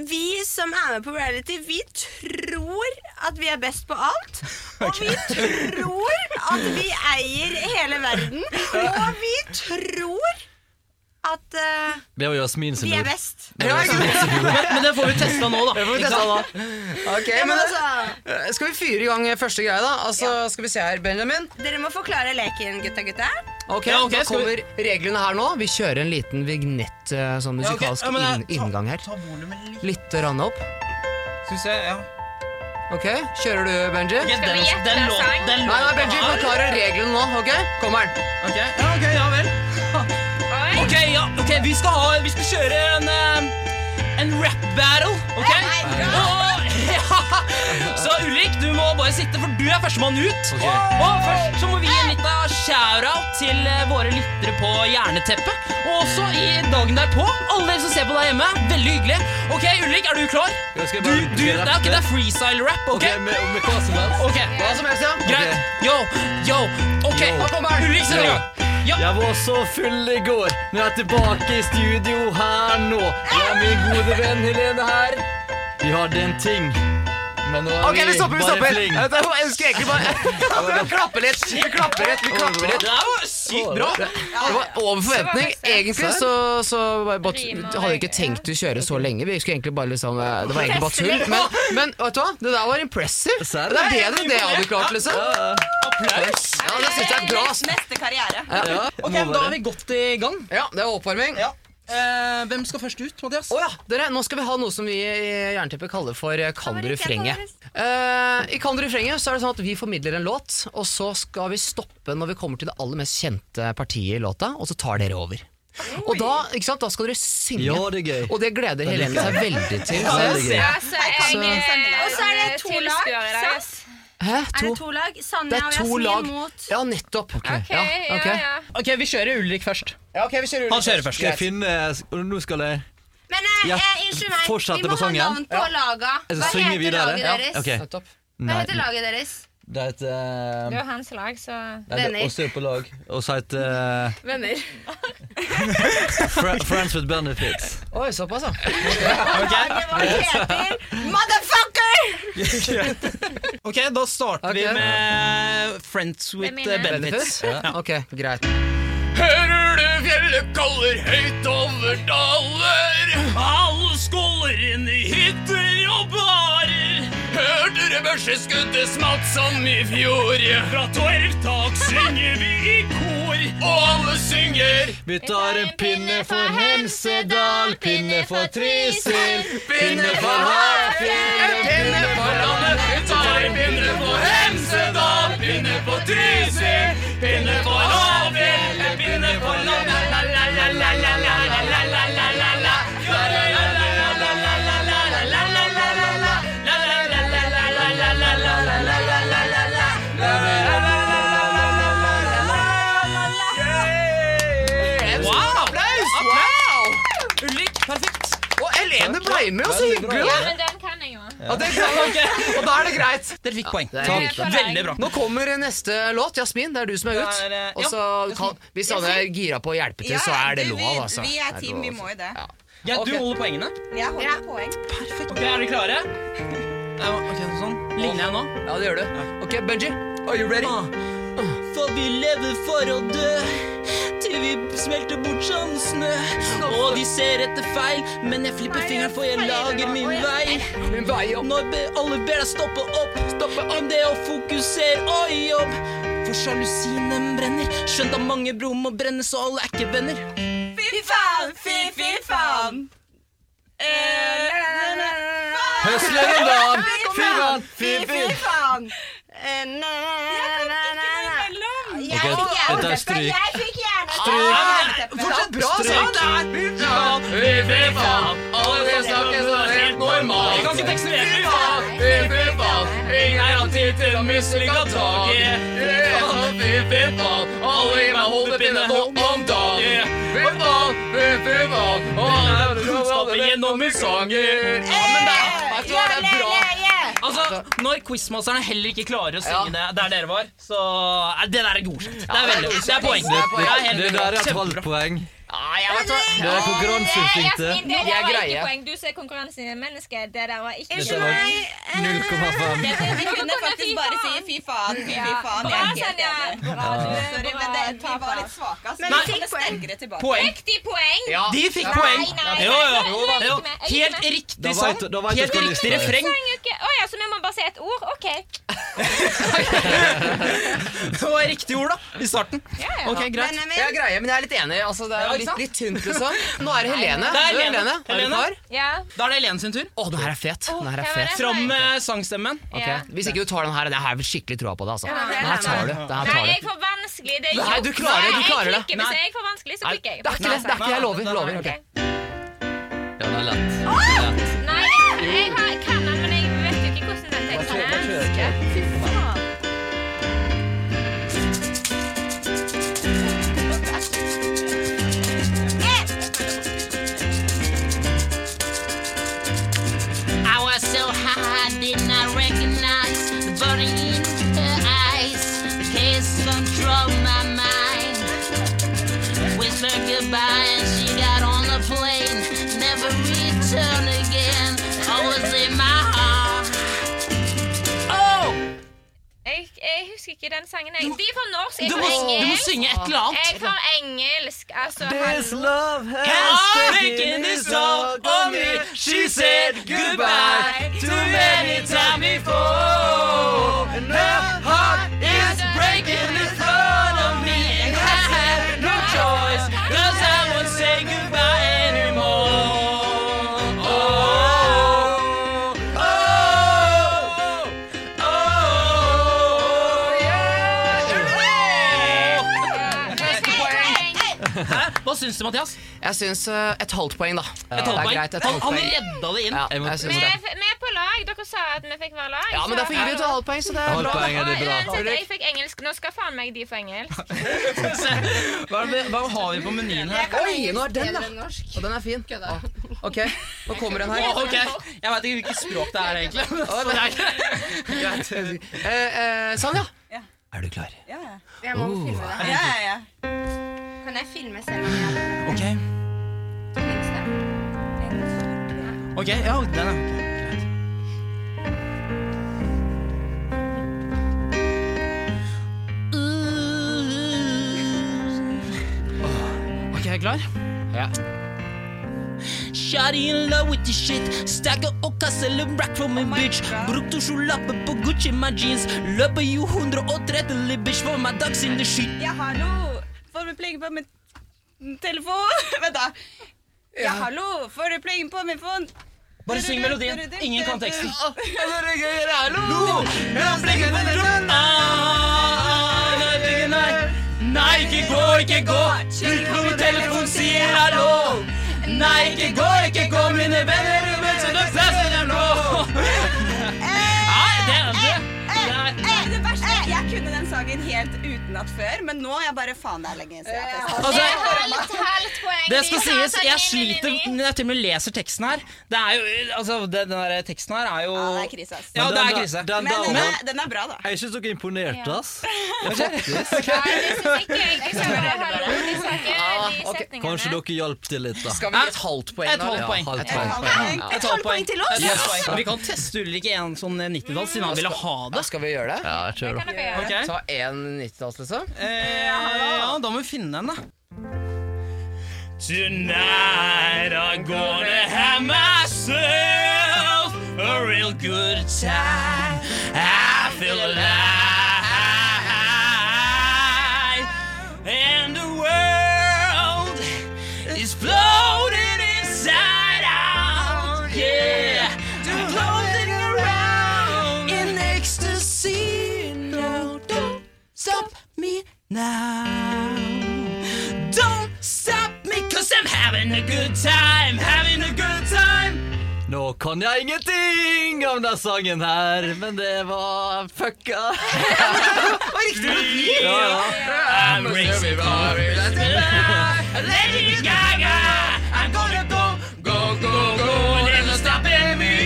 Speaker 2: vi som er med på reality, vi tror at vi er best på alt. Og vi tror at vi eier hele verden. Og vi tror at eh,
Speaker 4: Det var Jasmin sin
Speaker 2: vi er
Speaker 4: ord.
Speaker 2: best.
Speaker 6: Men, men det får vi testa nå, da. Ikke sant?
Speaker 7: Ok,
Speaker 2: Ja,
Speaker 7: men
Speaker 2: men altså,
Speaker 7: eh, Skal vi fyre i gang eh, første greia, da? Altså, Skal vi se her, Benjamin.
Speaker 2: dere må forklare leken, gutta gutta.
Speaker 7: Ok,
Speaker 6: Ja, ok,
Speaker 7: Da
Speaker 6: skal vi-
Speaker 7: kommer reglene her nå. Vi kjører en liten vignett, eh, sånn
Speaker 6: Ja, ok.
Speaker 7: musikalsk
Speaker 6: Ja, men, eh,
Speaker 7: inn, inngang her.
Speaker 6: Ta, ta volumet litt.
Speaker 7: Litt rann opp.
Speaker 6: Skal vi se, ja.
Speaker 7: Ok, Kjører du, Benji?
Speaker 6: Ok,
Speaker 5: vi
Speaker 6: den,
Speaker 5: gjette
Speaker 6: den
Speaker 5: en
Speaker 6: lå-
Speaker 5: sang?
Speaker 6: den lå-
Speaker 7: Nei, nei, Benji forklarer reglene nå. ok? Kommer den.
Speaker 6: Ok, ja, ok, ja vel.
Speaker 5: Oi.
Speaker 6: Ok, ja, ok, vi skal, ha, vi skal kjøre en, eh, en rap battle, ok? Og, ja. Så Ulrik, du må bare sitte, for du er førstemann ut.
Speaker 4: Ok.
Speaker 6: Og først så må vi gi en liten eh, shout-out til eh, våre lyttere på Jerneteppet. Og også i dagen derpå, alle dere som ser på der hjemme, veldig hyggelig. Ok, Ulrik, er du klar?
Speaker 4: Ja, skal jeg
Speaker 6: Du,
Speaker 4: bare-
Speaker 6: du,
Speaker 4: skal jeg
Speaker 6: det er
Speaker 4: rappe?
Speaker 6: ok, det er freestyle-rap, ok?
Speaker 4: Ok, med, med hva som helst.
Speaker 6: Ok,
Speaker 7: Hva som helst, ja.
Speaker 6: greit. Yo, yo, ok.
Speaker 4: Yo.
Speaker 6: Opp og bær. Ulrik, sett i gang. Ja.
Speaker 4: Jeg var så full i går, men jeg er tilbake i studio her nå. Jeg er min gode venn Helene her. Vi hadde en ting, men nå er
Speaker 7: Ok, vi stopper, vi
Speaker 4: bare
Speaker 7: stopper.
Speaker 4: fling.
Speaker 7: Jeg tar- jeg ønsker egentlig bare Vi klapper litt. Vi klapper litt. vi klapper litt.
Speaker 6: Det er jo sykt bra.
Speaker 7: Det var over forventning. Egentlig så, så bare, bare,
Speaker 5: Rimer.
Speaker 7: hadde vi ikke tenkt å kjøre så lenge. Vi skulle egentlig bare liksom eh, Det var egentlig bare tull. Men, men vet du hva? Det der var impressive.
Speaker 4: Serr?
Speaker 7: Det er bedre enn det jeg hadde klart, liksom.
Speaker 6: Applaus.
Speaker 7: Ja, det synes jeg er bra. ass.
Speaker 3: Neste karriere.
Speaker 7: Ja,
Speaker 6: Ok,
Speaker 4: Må
Speaker 6: Da
Speaker 4: være.
Speaker 6: er vi godt i gang.
Speaker 7: ja det var oppvarming. Å
Speaker 6: Eh, hvem skal først ut, Mathias?
Speaker 7: ja, dere, nå skal vi ha noe som vi i Jernteppet kaller for eh, Kan du refrenget. Eh, I Kan du refrenget så er det sånn at vi formidler en låt, og så skal vi stoppe når vi kommer til det aller mest kjente partiet i låta, og så tar dere over. Og da, ikke sant, da skal dere synge.
Speaker 4: Ja, det er gøy.
Speaker 7: Og det gleder Helene seg veldig til.
Speaker 4: Ja, det er
Speaker 7: Så-
Speaker 4: gøy.
Speaker 5: Altså, jeg eh,
Speaker 2: Og så er det to lag,
Speaker 5: tilskuer i dag,
Speaker 2: sant?
Speaker 5: ass.
Speaker 7: Hæ?
Speaker 2: Er
Speaker 7: To?
Speaker 2: det to lag? Sanja
Speaker 7: Det er
Speaker 2: og
Speaker 7: to
Speaker 2: Jasmin
Speaker 7: lag.
Speaker 2: mot
Speaker 7: Ja, nettopp.
Speaker 5: Ok, ja,
Speaker 7: ok.
Speaker 5: ja.
Speaker 6: Ok, Vi kjører Ulrik først.
Speaker 7: Ja, ok, vi kjører
Speaker 6: Han kjører først.
Speaker 4: Skal jeg finne og Nå skal jeg
Speaker 2: Men eh,
Speaker 4: Ja,
Speaker 2: eh, unnskyld meg,
Speaker 4: fortsette
Speaker 2: vi må
Speaker 4: på
Speaker 2: ha
Speaker 4: sangen.
Speaker 2: navn på laga.
Speaker 4: Jeg skal
Speaker 2: Hva
Speaker 4: synge
Speaker 2: heter
Speaker 4: videre.
Speaker 2: laget
Speaker 4: Ja,
Speaker 2: deres?
Speaker 4: ok.
Speaker 7: Nettopp.
Speaker 2: Hva
Speaker 4: Nei,
Speaker 2: heter laget deres?
Speaker 4: det heter
Speaker 5: Det
Speaker 4: eh,
Speaker 5: er jo hans lag, så
Speaker 4: nei, det
Speaker 2: Venner.
Speaker 4: er Oss er på lag. Og så heter eh,
Speaker 2: Venner.
Speaker 4: Fra- Friends with Benefits.
Speaker 7: Oi, såpass, ja.
Speaker 2: Laget vårt heter Motherfucker!
Speaker 6: Ok, Da starter
Speaker 7: Ok.
Speaker 6: vi med eh, Friends with
Speaker 5: Hvem er
Speaker 6: eh,
Speaker 5: mine?
Speaker 6: Benefits.
Speaker 7: Benefits? Ok, greit.
Speaker 6: Hører du fjellet kaller høyt over daler? Alle skåler inn i kanskje skuddet smalt som i fjor. Fra torvtak synger vi i kor, og alle synger.
Speaker 4: Vi tar en pinne for Hemsedal, pinne for Trysil, pinne for Hafjell, pinne for landet.
Speaker 6: Vi tar en pinne på Hemsedal, pinne på Trysil, pinne på Havfjell, en pinne på landet. La, la, la, la, la, la, la, la, la, la, la, la. La, la, la, la, la, la, la, la, la, la, la, la, la, la, la. La, la, la, la, la, la, la, la, la, la, la, la, la, la, la. La, la, la, la, la, la, la, la, la, la, la. En stor applaus!
Speaker 7: Ulrik, perfekt. Og Helene ble med, så hyggelig!
Speaker 5: Ja,
Speaker 7: da.
Speaker 5: men den kan jeg jo.
Speaker 7: Ja, det er greit. Og da er det greit.
Speaker 6: Dere fikk poeng.
Speaker 7: det er
Speaker 6: Takk.
Speaker 5: greit.
Speaker 6: Veldig bra.
Speaker 7: Nå kommer neste låt. Jasmin, det er du som er
Speaker 3: Da er
Speaker 7: ut.
Speaker 3: det-
Speaker 7: Og så kan, hvis alle er gira på å hjelpe til, så er det
Speaker 3: du,
Speaker 7: lov,
Speaker 3: vi-
Speaker 7: altså.
Speaker 3: Vi
Speaker 7: Det
Speaker 3: er
Speaker 7: lov,
Speaker 3: team, vi
Speaker 7: altså.
Speaker 3: må jo det.
Speaker 6: Ja,
Speaker 7: Ok.
Speaker 6: du holder poengene.
Speaker 3: Jeg holder poeng.
Speaker 6: Ok, Er dere klare? Ja, ok, sånn. Ligner jeg nå?
Speaker 7: Ja, det gjør du. Ok, Benji, are you ready?
Speaker 6: Ah, For vi lever for å dø til vi smelter bort som snø. Og de ser etter feil, men jeg flipper fingeren, for jeg lager min vei.
Speaker 7: Min vei opp.
Speaker 6: Når be- alle ber deg stoppe opp, stoppe om det å fokusere og jobb. For sjalusien den brenner, skjønt at mange bro må brenne, så alle er ikke venner.
Speaker 3: Fy faen, fy, fy faen.
Speaker 4: Høstleren, fy faen, fy, fy.
Speaker 3: faen.
Speaker 2: Eh, na, na, na, na, na.
Speaker 4: Ok, dette er stryk. Ah,
Speaker 7: Fortsatt bra altså. sang!
Speaker 6: Jeg kan ikke teksten helt. Fy faen, fy, fy faen. Ingen er alltid til å mislykka taket. Fy faen, fy, fy faen. Alle gir meg hodepine nå om dagen. Fy faen, fy, fy faen. Og alle er kunnskapen gjennom min sanger. Ja, men det er, vet du hva, det er bra.
Speaker 5: Eh!
Speaker 6: Altså, Når quizmasterne heller ikke klarer å synge det der dere var, så Nei, Det der er godkjent. Det er veldig Det er poeng.
Speaker 4: Det,
Speaker 6: Det er
Speaker 4: det,
Speaker 6: helt
Speaker 4: det der er et
Speaker 6: kjempebra.
Speaker 4: halvt poeng.
Speaker 7: Ja, jeg vet hva.
Speaker 4: Det er konkurranseinstinktet.
Speaker 5: Det
Speaker 7: Jeg
Speaker 5: der var
Speaker 7: greier.
Speaker 5: ikke poeng. Du ser konkurransen i menneske. Det der var ikke
Speaker 4: Dette var 0,5.
Speaker 3: Vi kunne faktisk bare si fy faen, fy, fy faen. Jeg er
Speaker 5: Bra,
Speaker 3: helt
Speaker 5: Sonja.
Speaker 3: enig.
Speaker 5: Bra, du er
Speaker 3: Sorry,
Speaker 5: bra.
Speaker 3: men det, vi
Speaker 5: Ta
Speaker 3: var
Speaker 5: faen.
Speaker 3: litt svake. ass.
Speaker 2: Men
Speaker 3: Vi
Speaker 2: vi fikk
Speaker 3: kommer
Speaker 2: poeng.
Speaker 3: sterkere tilbake.
Speaker 6: Poeng.
Speaker 5: Riktig poeng!
Speaker 7: Ja.
Speaker 6: De fikk
Speaker 5: Nei,
Speaker 6: poeng.
Speaker 5: nei,
Speaker 6: Jo, jo.
Speaker 5: nei, nei,
Speaker 6: jo.
Speaker 5: jeg gikk med, jeg gikk
Speaker 6: Helt
Speaker 5: med.
Speaker 4: Da
Speaker 6: riktig
Speaker 4: vet-
Speaker 6: sang.
Speaker 4: da vet du
Speaker 6: Helt
Speaker 4: hva
Speaker 6: riktig
Speaker 4: lista er.
Speaker 6: refreng.
Speaker 5: Sang jo ikke Å ja, så vi må bare si et ord? OK.
Speaker 6: Det var riktig ord, da. I starten.
Speaker 5: Ja, ja.
Speaker 6: Ok, greit.
Speaker 3: Benjamin,
Speaker 7: Jeg greier, men jeg er litt enig. Altså, det
Speaker 6: Ja,
Speaker 7: er
Speaker 6: ikke
Speaker 7: litt,
Speaker 6: sant?
Speaker 7: litt tynt, liksom. Nå er det Helene.
Speaker 6: Det er
Speaker 7: Du,
Speaker 6: Helene.
Speaker 7: Er du
Speaker 6: Helene.
Speaker 7: klar?
Speaker 5: Ja.
Speaker 6: Da er det Helene sin tur.
Speaker 7: Å, den her er fet.
Speaker 5: Åh,
Speaker 7: Den her er
Speaker 5: hva var
Speaker 7: fet.
Speaker 5: det?
Speaker 6: Fram med sangstemmen.
Speaker 7: Ok,
Speaker 5: Ja.
Speaker 7: Hvis ikke du tar den her, det her er vel skikkelig troa på det, altså.
Speaker 5: Ja, det er
Speaker 7: Den her
Speaker 5: det.
Speaker 7: tar du. Den her
Speaker 5: Nei,
Speaker 7: tar
Speaker 5: jeg
Speaker 7: du.
Speaker 5: får vanskelig. Det er
Speaker 7: Nei, du klarer det, du klarer det.
Speaker 5: jeg klikker. Hvis
Speaker 6: Nei.
Speaker 5: jeg får vanskelig, så
Speaker 7: Nei, det
Speaker 5: klikker
Speaker 7: er
Speaker 5: jeg.
Speaker 7: ikke det. Det er ikke det. Jeg lover. lover. ok.
Speaker 5: Ok.
Speaker 4: Ja, det er lett.
Speaker 5: Nei, jeg har, jeg kan den, men jeg vet jo ikke hvordan den teksten er.
Speaker 8: I was so high, I did not recognize the body in her eyes. Kiss control my mind. Whispered goodbye and she got on the plane. Never returned again. Always in my heart.
Speaker 5: Jeg, jeg husker ikke den sangen. Jeg. De får norsk, jeg
Speaker 6: Du må,
Speaker 5: får
Speaker 6: du må
Speaker 5: engelsk.
Speaker 6: synge et eller annet.
Speaker 5: Jeg får engelsk. Altså,
Speaker 4: This
Speaker 5: hallo.
Speaker 4: love has
Speaker 6: Can't speak
Speaker 4: taken
Speaker 6: in this
Speaker 4: its
Speaker 6: song
Speaker 4: toll
Speaker 6: on me. She said goodbye too many times before. And her heart is breaking in front of me. And I had no choice, cause I won't say goodbye anymore. Oh, oh, oh, oh, yeah.
Speaker 5: Neste poeng.
Speaker 6: Hva syns du, Mathias?
Speaker 7: Jeg syns eh, et halvt poeng, da.
Speaker 6: Et
Speaker 7: Det er
Speaker 6: halvt
Speaker 7: greit.
Speaker 6: poeng. Han,
Speaker 7: Et halvt
Speaker 6: han
Speaker 7: poeng.
Speaker 6: redda det inn.
Speaker 7: Ja,
Speaker 4: Jeg må-
Speaker 5: Vi
Speaker 7: jeg syns det.
Speaker 5: er, vi er på lag. Dere sa at vi fikk være lag.
Speaker 7: Ja, men
Speaker 5: så-
Speaker 7: derfor gir vi ut et halvt poeng, så det er
Speaker 4: Halvt
Speaker 7: bra.
Speaker 4: poeng er det bra.
Speaker 5: Uansett, jeg fikk engelsk. Nå skal faen meg de få engelsk.
Speaker 6: Hva, er det, hva har vi på menyen her?
Speaker 7: Oi, nå er den, da. Og den er fin. Å, Ok, nå kommer den her.
Speaker 6: Ok, Jeg veit ikke hvilket språk det er, egentlig. Så det er greit.
Speaker 7: Eh, eh, Sanja.
Speaker 3: Ja.
Speaker 7: Er du klar?
Speaker 3: Ja, ja.
Speaker 2: Jeg må
Speaker 7: Oh.
Speaker 2: filme det her.
Speaker 3: Ja, ja, ja.
Speaker 2: Kan jeg filme selv om jeg
Speaker 6: Ok, ok, ja, den er ok, greit. Ok, er jeg klar?
Speaker 7: Ja.
Speaker 8: Shawty in love with this shit. oh, Stacker og kassele rack from en bitch. Brukte sjolappe på Gucci my jeans. Løper jo 130 bitch for my dogs in the shit.
Speaker 3: Jeg har noe formepling på min telefon. Vent, da. Jeg har noe formepling på min telefon.
Speaker 8: Bare syng melodien. Ingen kan teksten.
Speaker 6: Nei, ikke gå, ikke gå. Slutt på min telefon, sier hallo. Nei, ikke gå, ikke gå, mine venner. Du vet så du presser dem nå. Nei, det er det.
Speaker 3: Eh, det verste, er at jeg kunne den sangen helt utenat før, men nå er jeg bare faen det er lenge siden. jeg har testet.
Speaker 5: Det
Speaker 6: Altså,
Speaker 5: har litt halvt poeng.
Speaker 6: det skal
Speaker 5: Vi har
Speaker 6: sies,
Speaker 5: sånn
Speaker 6: jeg
Speaker 5: inni,
Speaker 6: sliter
Speaker 5: inni.
Speaker 6: når jeg til og med leser teksten her. Det er jo, altså, det- Den der teksten her er jo
Speaker 3: Ja, det er krise, ass.
Speaker 6: Ja, det er
Speaker 4: den-
Speaker 6: krise.
Speaker 4: den-
Speaker 3: Men
Speaker 4: den-
Speaker 3: den er, den er bra, da.
Speaker 4: Jeg er ikke så imponert, ass.
Speaker 5: Nei, det synes ikke jeg. Jeg skal bare ha lov til å snakke de setningene.
Speaker 4: Kanskje dere hjalp til litt, da.
Speaker 7: Skal vi gi et halvt poeng?
Speaker 6: Et
Speaker 7: nå,
Speaker 6: halvt
Speaker 7: eller?
Speaker 6: poeng.
Speaker 4: halvt
Speaker 7: Et halvt
Speaker 4: poeng.
Speaker 7: poeng.
Speaker 3: Et
Speaker 7: Ja.
Speaker 6: Et
Speaker 3: halvt poeng til oss.
Speaker 6: Yes. Vi kan teste Ulrik i en sånn 90-tall, siden han ville ha
Speaker 7: Da
Speaker 6: det.
Speaker 7: skal vi gjøre det.
Speaker 4: Ja, jeg kjører.
Speaker 5: Kan dere gjøre det?
Speaker 6: Ok.
Speaker 7: Ta en 90-talls, liksom.
Speaker 6: Eh, ja, da må vi finne den, da. Tonight I'm gonna have myself a real good time. I feel alive. And the world is floating inside out. Yeah. Floating around in ecstasy. No, don't stop me now. Don't stop me, cause I'm having a good time, having a good time.
Speaker 4: Nå kan jeg ingenting om den sangen her, men det var fucka.
Speaker 6: Riktig!
Speaker 4: Ja, ja.
Speaker 6: I'm racing for Lady Gaga. I'm gonna go, go, go, go. They're not stopping me.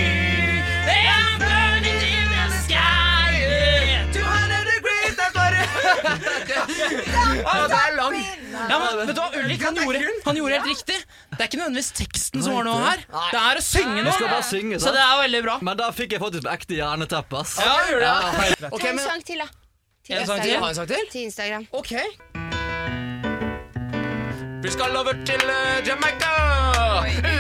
Speaker 6: They are burning in the sky. Yeah. 200 degrees, that's what
Speaker 7: det er langt.
Speaker 6: Ja, men vet du hva, Ulrik han gjorde, han gjorde helt riktig. Det er ikke nødvendigvis teksten som var noe her.
Speaker 7: Nei.
Speaker 6: Det er å
Speaker 4: Vi
Speaker 6: synge
Speaker 4: skal
Speaker 6: noe.
Speaker 4: bare synge,
Speaker 6: Så det
Speaker 4: sant?
Speaker 6: er veldig bra.
Speaker 4: Men da fikk jeg faktisk ekte jerneteppe, ass.
Speaker 6: Ja, gjorde det.
Speaker 7: Ok,
Speaker 2: Ta en
Speaker 7: men
Speaker 2: sang til, da. Til
Speaker 6: En sang
Speaker 7: Skal vi
Speaker 2: Instagram.
Speaker 7: ha en sak til?
Speaker 2: Til Instagram.
Speaker 7: Ok. Vi skal over til eh, Jamaica.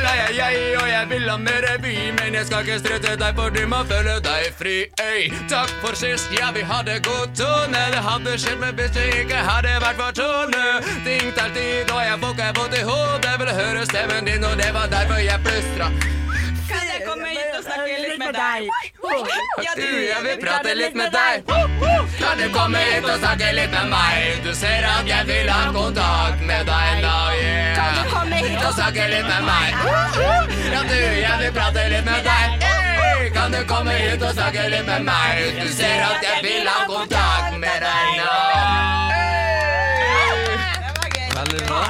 Speaker 7: La, jeg, jeg, og jeg vil ha mer by, men jeg skal ikke strutte deg, for du må føle deg fri. Øy. Takk for sist, ja, vi hadde god tone. Det hadde skjedd, men hvis det ikke hadde vært for Tone. Ting tar tid, og jeg får ikke vondt i hodet. Ville høre stemmen din, og det var derfor jeg plystra.
Speaker 3: Kan jeg komme hit og snakke litt med deg? Ja,
Speaker 7: Du, jeg vil prate litt med deg. Kan du komme hit og snakke litt med meg? Du ser at jeg vil ha kontakt med deg nå, yeah. Kan du komme hit og snakke litt med meg? Ja, du, jeg vil prate litt med deg. Hey, kan du komme hit og snakke litt med meg? Du ser at jeg vil ha kontakt med deg nå.
Speaker 3: Det var gøy.
Speaker 4: Veldig bra.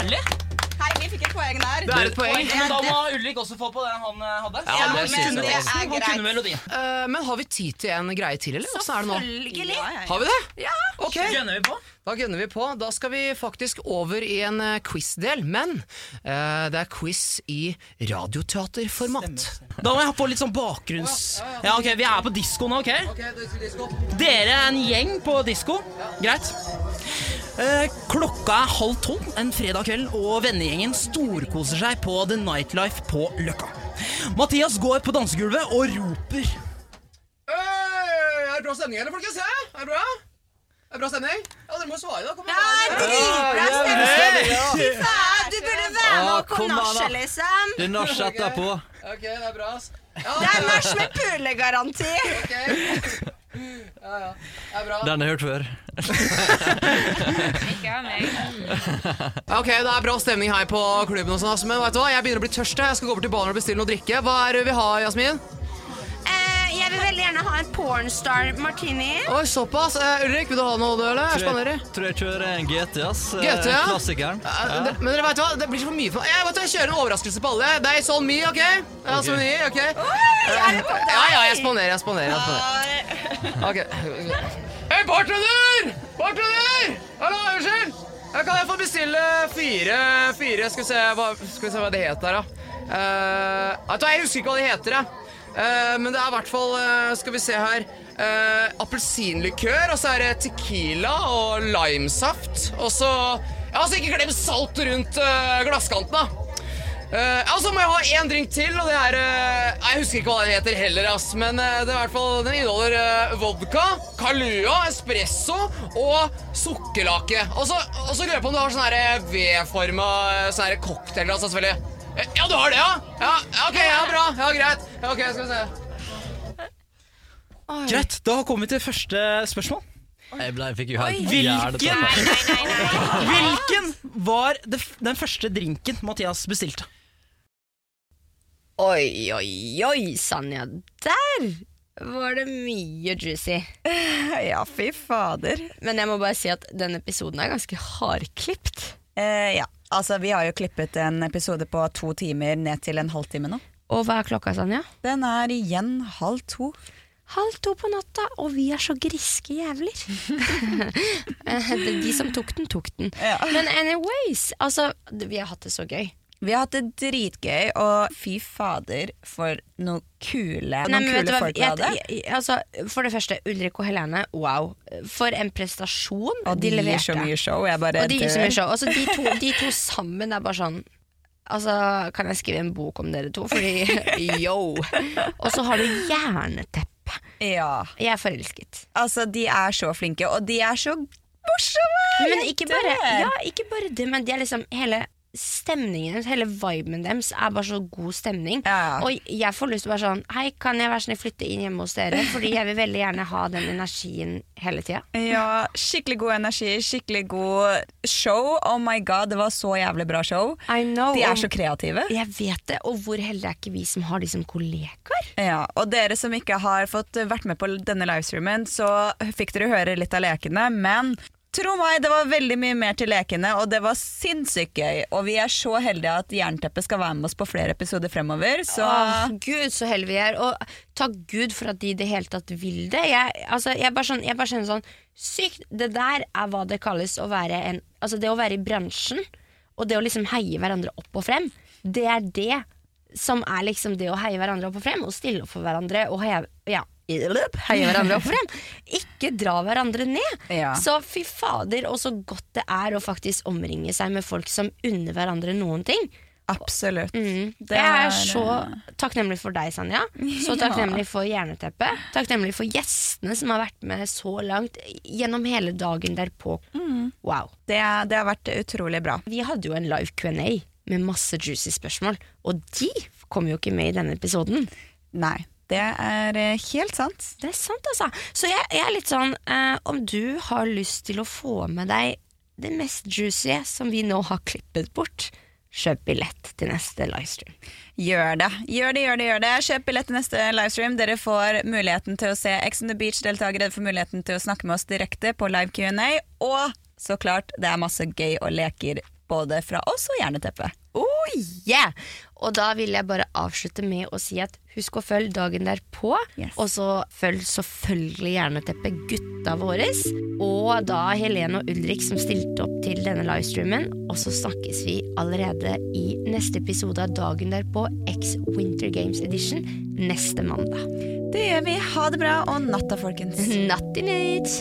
Speaker 3: Hei, vi fikk et poeng der.
Speaker 7: Det er et poeng.
Speaker 3: Men da må
Speaker 6: Ulrik også få på den han eh, hadde.
Speaker 7: Ja, det synes jeg
Speaker 3: det er
Speaker 6: Han kunne
Speaker 3: greit.
Speaker 6: melodien.
Speaker 7: Eh, Men har vi tid til en greie til, eller? Åssen er det nå?
Speaker 2: Følgelig.
Speaker 3: Ja, ja, ja.
Speaker 7: Har vi det? Ja.
Speaker 6: Gønner vi på?
Speaker 7: Da gønner vi på. Da skal vi faktisk over i en eh, quiz-del, men eh, det er quiz i radioteaterformat.
Speaker 6: Da må jeg ha på litt sånn bakgrunns... Ja, ok, Vi er på disko nå, OK? Dere er en gjeng på disko. Greit. Eh, klokka er halv tolv en fredag kveld, og vennegjengen storkoser seg på The Nightlife på Løkka. Mathias går på dansegulvet og roper.
Speaker 7: Er det bra stemning, eller, folkens? Er det bra? Er det bra stemning? Ja, dere må svare, da. Kom
Speaker 3: Dritbra stemning! Faen, Du burde være med
Speaker 4: Ja,
Speaker 3: og på
Speaker 4: kom an, da.
Speaker 3: nachspiel, liksom.
Speaker 4: Det er nach etterpå.
Speaker 7: Ok, det er bra, ass.
Speaker 3: Det er nach med pulegaranti.
Speaker 4: Den har jeg hørt før.
Speaker 5: Ikke av meg.
Speaker 7: Ok, det er bra stemning her på klubben og sånn, ass. Men vet du hva, jeg begynner å bli tørst. jeg. Jeg skal gå over til baren og bestille noe drikke. Hva er det vi har, Jasmin?
Speaker 2: Eh, jeg vil veldig gjerne ha en pornstar martini.
Speaker 7: Oi, såpass. Eh, Ulrik, vil du ha noe, du, eller? Jeg
Speaker 4: Tror
Speaker 7: spanderer.
Speaker 4: jeg, tror jeg kjører en GT, ass. Eh,
Speaker 7: GT, ja.
Speaker 4: Klassikeren.
Speaker 7: Eh, det- Men dere vet hva, det blir så for mye for meg. Jeg, vet, hva, jeg kjører en overraskelse på alle. Det er sånn me, ok? Ja, sånn me, ok? Ja, ja, jeg spanderer, jeg spanderer. Jeg spanderer. Ok. Hei, bartender! Bartender! Hallo, unnskyld! Ja, Kan jeg få bestille fire, fire skal, vi se, hva, skal vi se hva det heter, da. Eh, vet du hva, jeg husker ikke hva det heter, jeg. Eh, men det er i hvert fall eh, Skal vi se her. Uh, Appelsinlikør, og så er det tequila og limesaft. Og så Ja, så ikke glem salt rundt eh, glasskanten, da. Eh, og så må jeg ha én drink til, og det er eh, Jeg husker ikke hva den heter heller, ass, men eh, det er i hvert fall, den inneholder eh, vodka, Kalua, espresso og sukkerlake. Og så og så lurer jeg på om du har sånn her V-forma sånn her cocktailglass, altså, selvfølgelig. Eh, Ja, du har det, ja? Ja, ja, ok, ja, bra. Ja, greit. Ja, ok, skal vi se.
Speaker 6: Greit, da kommer vi til første spørsmål.
Speaker 4: Jeg, ble, jeg fikk jo helt
Speaker 6: Hvilken-
Speaker 4: hjertet-
Speaker 5: Nei, nei, nei.
Speaker 6: Hvilken var det, f- den første drinken Mathias bestilte?
Speaker 9: Oi, oi, oi, Sanja. Der var det mye juicy.
Speaker 3: Ja, fy fader.
Speaker 9: Men jeg må bare si at denne episoden er ganske hardklipt.
Speaker 3: Eh, ja, altså vi har jo klippet en episode på to timer ned til en halvtime nå.
Speaker 9: Og hva er klokka, Sanja?
Speaker 3: Den er igjen halv to.
Speaker 9: Halv to på natta, og vi er så griske jævler. Eh, det er De som tok den, tok den.
Speaker 3: Ja.
Speaker 9: Men anyways, altså, d- vi har hatt det så gøy.
Speaker 3: Vi har hatt det dritgøy, og fy fader for noen kule,
Speaker 9: Nei,
Speaker 3: noen
Speaker 9: men vet du
Speaker 3: kule
Speaker 9: hva,
Speaker 3: folk vi hadde.
Speaker 9: jeg, jeg, altså, for det første, Ulrik og Helene, wow. For en prestasjon
Speaker 3: Og de,
Speaker 9: de
Speaker 3: gir så
Speaker 9: leverte.
Speaker 3: mye show. Jeg bare
Speaker 9: Og de gir så
Speaker 3: dør.
Speaker 9: mye show. Altså, de, to, de to sammen er bare sånn Altså, Kan jeg skrive en bok om dere to? Fordi yo! Og så har du jerneteppe.
Speaker 3: Ja,
Speaker 9: Jeg er forelsket.
Speaker 3: altså de er så flinke, og de er så morsomme!
Speaker 9: Men
Speaker 3: Jeg
Speaker 9: ikke
Speaker 3: dør.
Speaker 9: bare, ja, ikke bare det, men de er liksom hele stemningen deres, hele viben deres, er bare så god stemning.
Speaker 3: Ja.
Speaker 9: Og jeg får lyst til å bare sånn Hei, kan jeg være snill flytte inn hjemme hos dere? Fordi jeg vil veldig gjerne ha den energien hele tida.
Speaker 3: Ja, skikkelig god energi, skikkelig god show. Oh my god, det var så jævlig bra show.
Speaker 9: I know.
Speaker 3: De er
Speaker 9: og-
Speaker 3: så kreative.
Speaker 9: jeg vet det, og hvor heldige er ikke vi som har de som kollegaer?
Speaker 3: Ja, og dere som ikke har fått eh, vært med på denne livestreamen, så fikk dere høre litt av lekene, men tro meg, det var veldig mye mer til lekene, og det var sinnssykt gøy. Og vi er så heldige at Jernteppet skal være med oss på flere episoder fremover, så
Speaker 9: Åh, Gud, så heldige vi er. Og takk Gud for at de i det hele tatt vil det. Jeg, altså, jeg, bare, sånn, jeg bare kjenner sånn Sykt! Det der er hva det kalles å være en Altså, det å være i bransjen, og det å liksom heie hverandre opp og frem, det er det som er liksom det å heie hverandre opp og frem, og stille opp for hverandre og heie Ja. Heie hverandre opp og frem. Ikke dra hverandre ned.
Speaker 3: Ja.
Speaker 9: Så fy fader, og så godt det er å faktisk omringe seg med folk som unner hverandre noen ting.
Speaker 3: absolutt.
Speaker 9: Mm.
Speaker 3: Det
Speaker 9: jeg
Speaker 3: er,
Speaker 9: er så takknemlig for deg, Sanja. Så takknemlig for Jerneteppet. Takknemlig for gjestene som har vært med så langt gjennom hele dagen derpå. Wow.
Speaker 3: Det, det har vært utrolig bra.
Speaker 9: Vi hadde jo en live Q&A med masse juicy spørsmål, og de kom jo ikke med i denne episoden.
Speaker 3: Nei, det er eh, helt sant.
Speaker 9: Det er sant, altså. Så jeg, jeg er litt sånn eh, Om du har lyst til å få med deg det mest juicy som vi nå har klippet bort, kjøp billett til neste livestream.
Speaker 3: Gjør det. Gjør det, gjør det, gjør det. Kjøp billett til neste livestream. Dere får muligheten til å se Ex on the Beach-deltakere. Dere får muligheten til å snakke med oss direkte på live Q&A. Og så klart, det er masse gøy og leker både fra oss og Jerneteppet.
Speaker 9: Oh yeah! Og da vil jeg bare avslutte med å si at husk å følge dagen derpå.
Speaker 3: Yes.
Speaker 9: Og så følg selvfølgelig Jerneteppet gutta våres. Og da Helene og Ulrik som stilte opp til denne livestreamen. Og så snakkes vi allerede i neste episode av dagen derpå, X Winter Games Edition, neste mandag.
Speaker 3: Det gjør vi. Ha det bra og natta, folkens.
Speaker 9: Natty night!